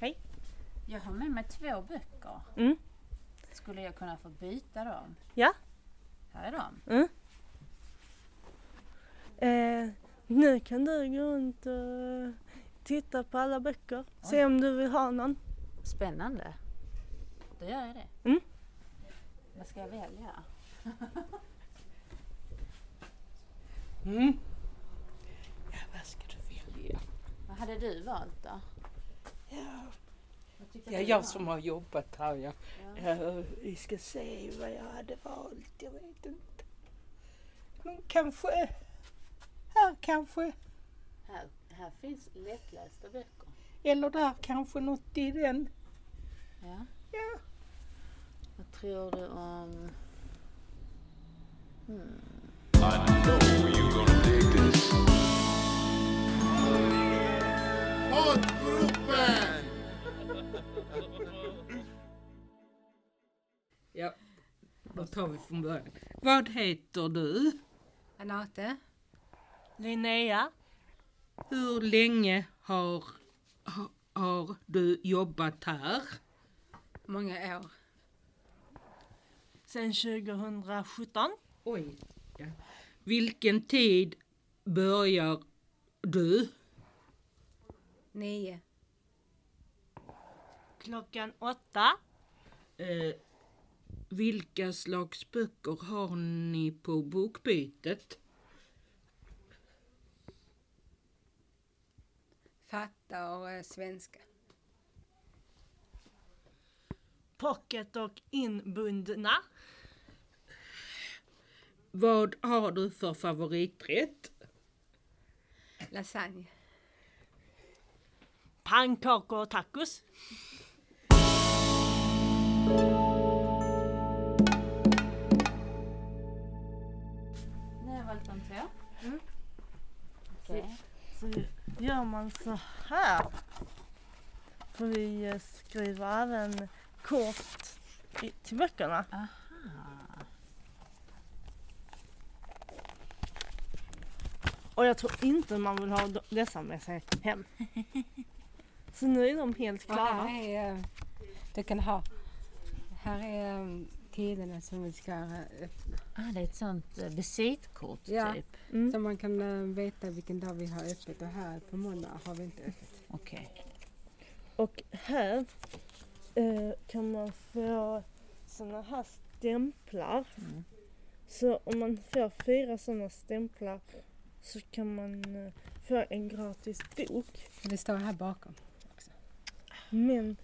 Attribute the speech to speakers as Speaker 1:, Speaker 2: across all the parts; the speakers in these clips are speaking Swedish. Speaker 1: Hej.
Speaker 2: Jag har med mig två böcker.
Speaker 1: Mm.
Speaker 2: Skulle jag kunna få byta dem?
Speaker 1: Ja.
Speaker 2: Här är de.
Speaker 1: Eh, nu kan du gå runt och titta på alla böcker. Se om du vill ha någon.
Speaker 2: Spännande. Då gör jag det.
Speaker 1: Mm.
Speaker 2: Vad ska jag välja?
Speaker 3: Mm. Ja, vad ska du välja?
Speaker 2: Vad hade du valt då? Vad tyckte
Speaker 3: Det är
Speaker 2: du
Speaker 3: jag
Speaker 2: var?
Speaker 3: som har jobbat här. Ja.
Speaker 2: Ja.
Speaker 3: Ja, vi ska se vad jag hade valt. Jag vet inte. Men kanske... Här kanske.
Speaker 2: Här, här finns lättlästa böcker.
Speaker 3: Eller där kanske något i den.
Speaker 2: Ja.
Speaker 3: Ja.
Speaker 2: Vad tror du om... Hmm.
Speaker 4: Poddgruppen!
Speaker 3: ja. Då tar vi från början. Vad heter du?
Speaker 5: Renate,
Speaker 1: Linnea.
Speaker 3: Hur länge har, har, har du jobbat här?
Speaker 5: många år.
Speaker 1: Sen 2017.
Speaker 3: Oj. Ja. Vilken tid börjar du?
Speaker 5: Nio.
Speaker 1: Klockan åtta.
Speaker 3: Eh, vilka slags böcker har ni på bokbytet?
Speaker 5: Fatta och eh, svenska.
Speaker 1: Pocket och inbundna.
Speaker 3: Vad har du för favoriträtt?
Speaker 5: Lasagne.
Speaker 1: Pannkakor och tacos.
Speaker 2: Nu har jag valt de två. Okej.
Speaker 1: Så gör man så här. Får vi eh, skriva även kort i, till böckerna. Och jag tror inte man vill ha d- dessa med sig hem. Så nu är de helt
Speaker 5: Och
Speaker 1: klara.
Speaker 5: här är, eh, du kan ha. Här är eh, tiderna som vi ska eh, öppna.
Speaker 2: Ah, det är ett sånt eh, visitkort
Speaker 5: Ja.
Speaker 2: typ.
Speaker 5: Så man kan eh, veta vilken dag vi har öppet och här på måndag har vi inte öppet.
Speaker 2: Okej.
Speaker 1: Och här eh, kan man få sådana här stämplar.
Speaker 2: Mm.
Speaker 1: Så om man får fyra sådana stämplar så kan man eh, få en gratis bok.
Speaker 5: Det står här bakom.
Speaker 1: Men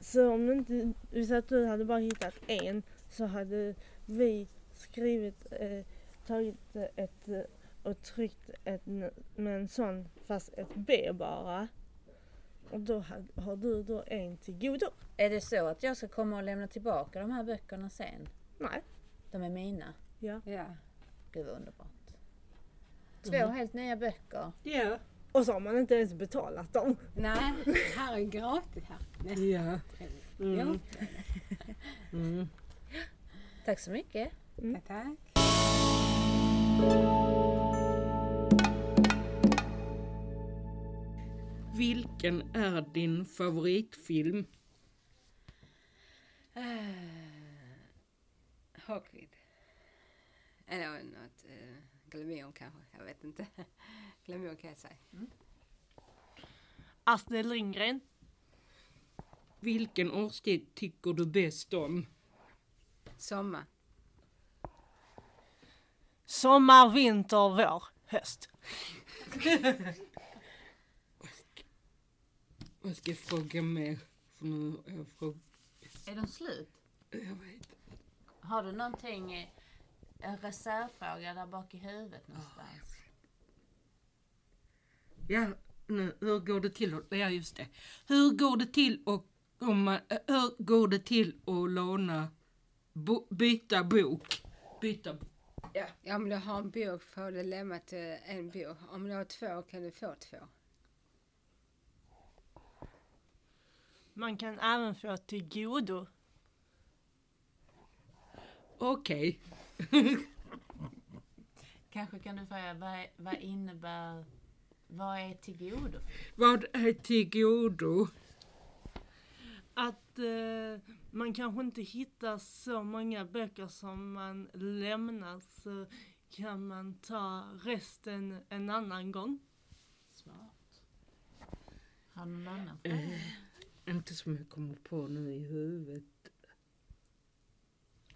Speaker 1: så om inte, vi säger att du hade bara hittat en så hade vi skrivit, eh, tagit eh, ett eh, och tryckt ett, n- med en sån fast ett B bara. Och då ha- har du då en till godo.
Speaker 2: Är det så att jag ska komma och lämna tillbaka de här böckerna sen?
Speaker 1: Nej.
Speaker 2: De är mina.
Speaker 5: Ja.
Speaker 2: Gud vad underbart. Två helt nya böcker.
Speaker 3: Ja.
Speaker 1: Och så har man inte ens betalat dem.
Speaker 5: Nej, här är gratis här. Nej.
Speaker 3: Ja.
Speaker 5: Jo,
Speaker 2: Tack så mycket.
Speaker 5: tack, tack.
Speaker 3: Vilken är din favoritfilm?
Speaker 5: Hawkweed. Eller något eh, glamour kanske. Jag vet inte. Glamour kan jag säga.
Speaker 1: Astrid Lindgren.
Speaker 3: Vilken årstid tycker du bäst om?
Speaker 5: Sommar.
Speaker 1: Sommar, vinter, vår, höst.
Speaker 3: Vad ska jag fråga mer? För nu har jag frågat.
Speaker 2: Är de slut?
Speaker 3: Jag vet.
Speaker 2: Har du någonting, eh, en reservfråga där bak i huvudet någonstans?
Speaker 3: Ah. Ja, nu, hur går det till att... Ja, just det. Hur går det till att... Om man, eh, hur går det till att låna... Bo, byta bok? Byta...
Speaker 5: Om du har en bok får du lämna till en bok. Om du har två kan du få två.
Speaker 1: Man kan även få till godo.
Speaker 3: Okej.
Speaker 2: Kanske kan du fråga, vad, vad innebär, vad är tillgodo?
Speaker 3: Vad är till godo?
Speaker 1: att eh, man kanske inte hittar så många böcker som man lämnar så kan man ta resten en annan gång.
Speaker 2: Smart. Har du någon annan?
Speaker 3: Eh, inte som jag kommer på nu i huvudet.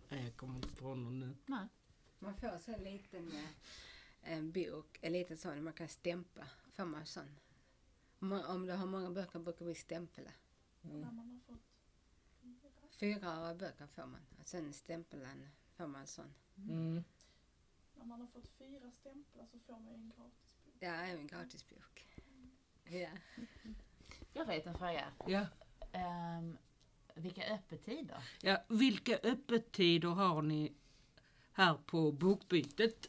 Speaker 3: Nej, jag kommer inte på någon nu.
Speaker 2: Nej.
Speaker 5: Man får så en liten eh, en bok, en liten sån man kan stämpa. Får man en sån? Om, man, om du har många böcker brukar vi stämpla. Fyra böcker får man. Och sen stämplan får man en sån.
Speaker 3: Mm.
Speaker 4: När man har fått fyra stämplar så får man ju en gratis bok.
Speaker 5: Ja, en gratisbok. Ja.
Speaker 2: Jag vet en fråga.
Speaker 3: Ja.
Speaker 2: Ehm, vilka öppettider?
Speaker 3: ja, vilka öppettider har ni här på bokbytet?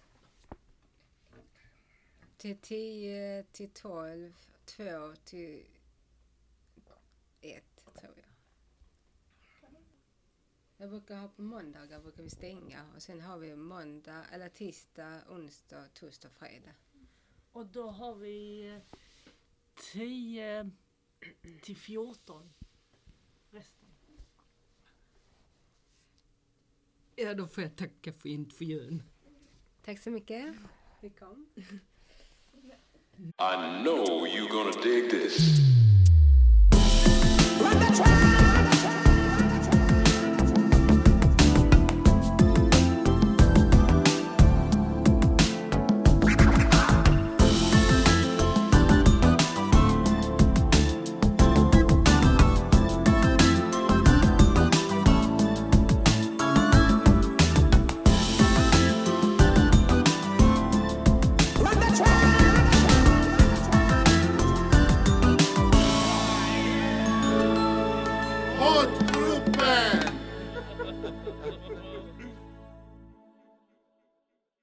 Speaker 5: Till 10, till 12, 2 till 1 tror jag. Jag brukar ha på måndagar brukar vi stänga och sen har vi måndag, eller tisdag, onsdag, torsdag, fredag.
Speaker 1: Och då har vi eh, 10 till 14. Resten.
Speaker 3: Ja, då får jag tacka för intervjun.
Speaker 5: Tack så mycket. Vi kom.
Speaker 6: I know you're gonna dig this.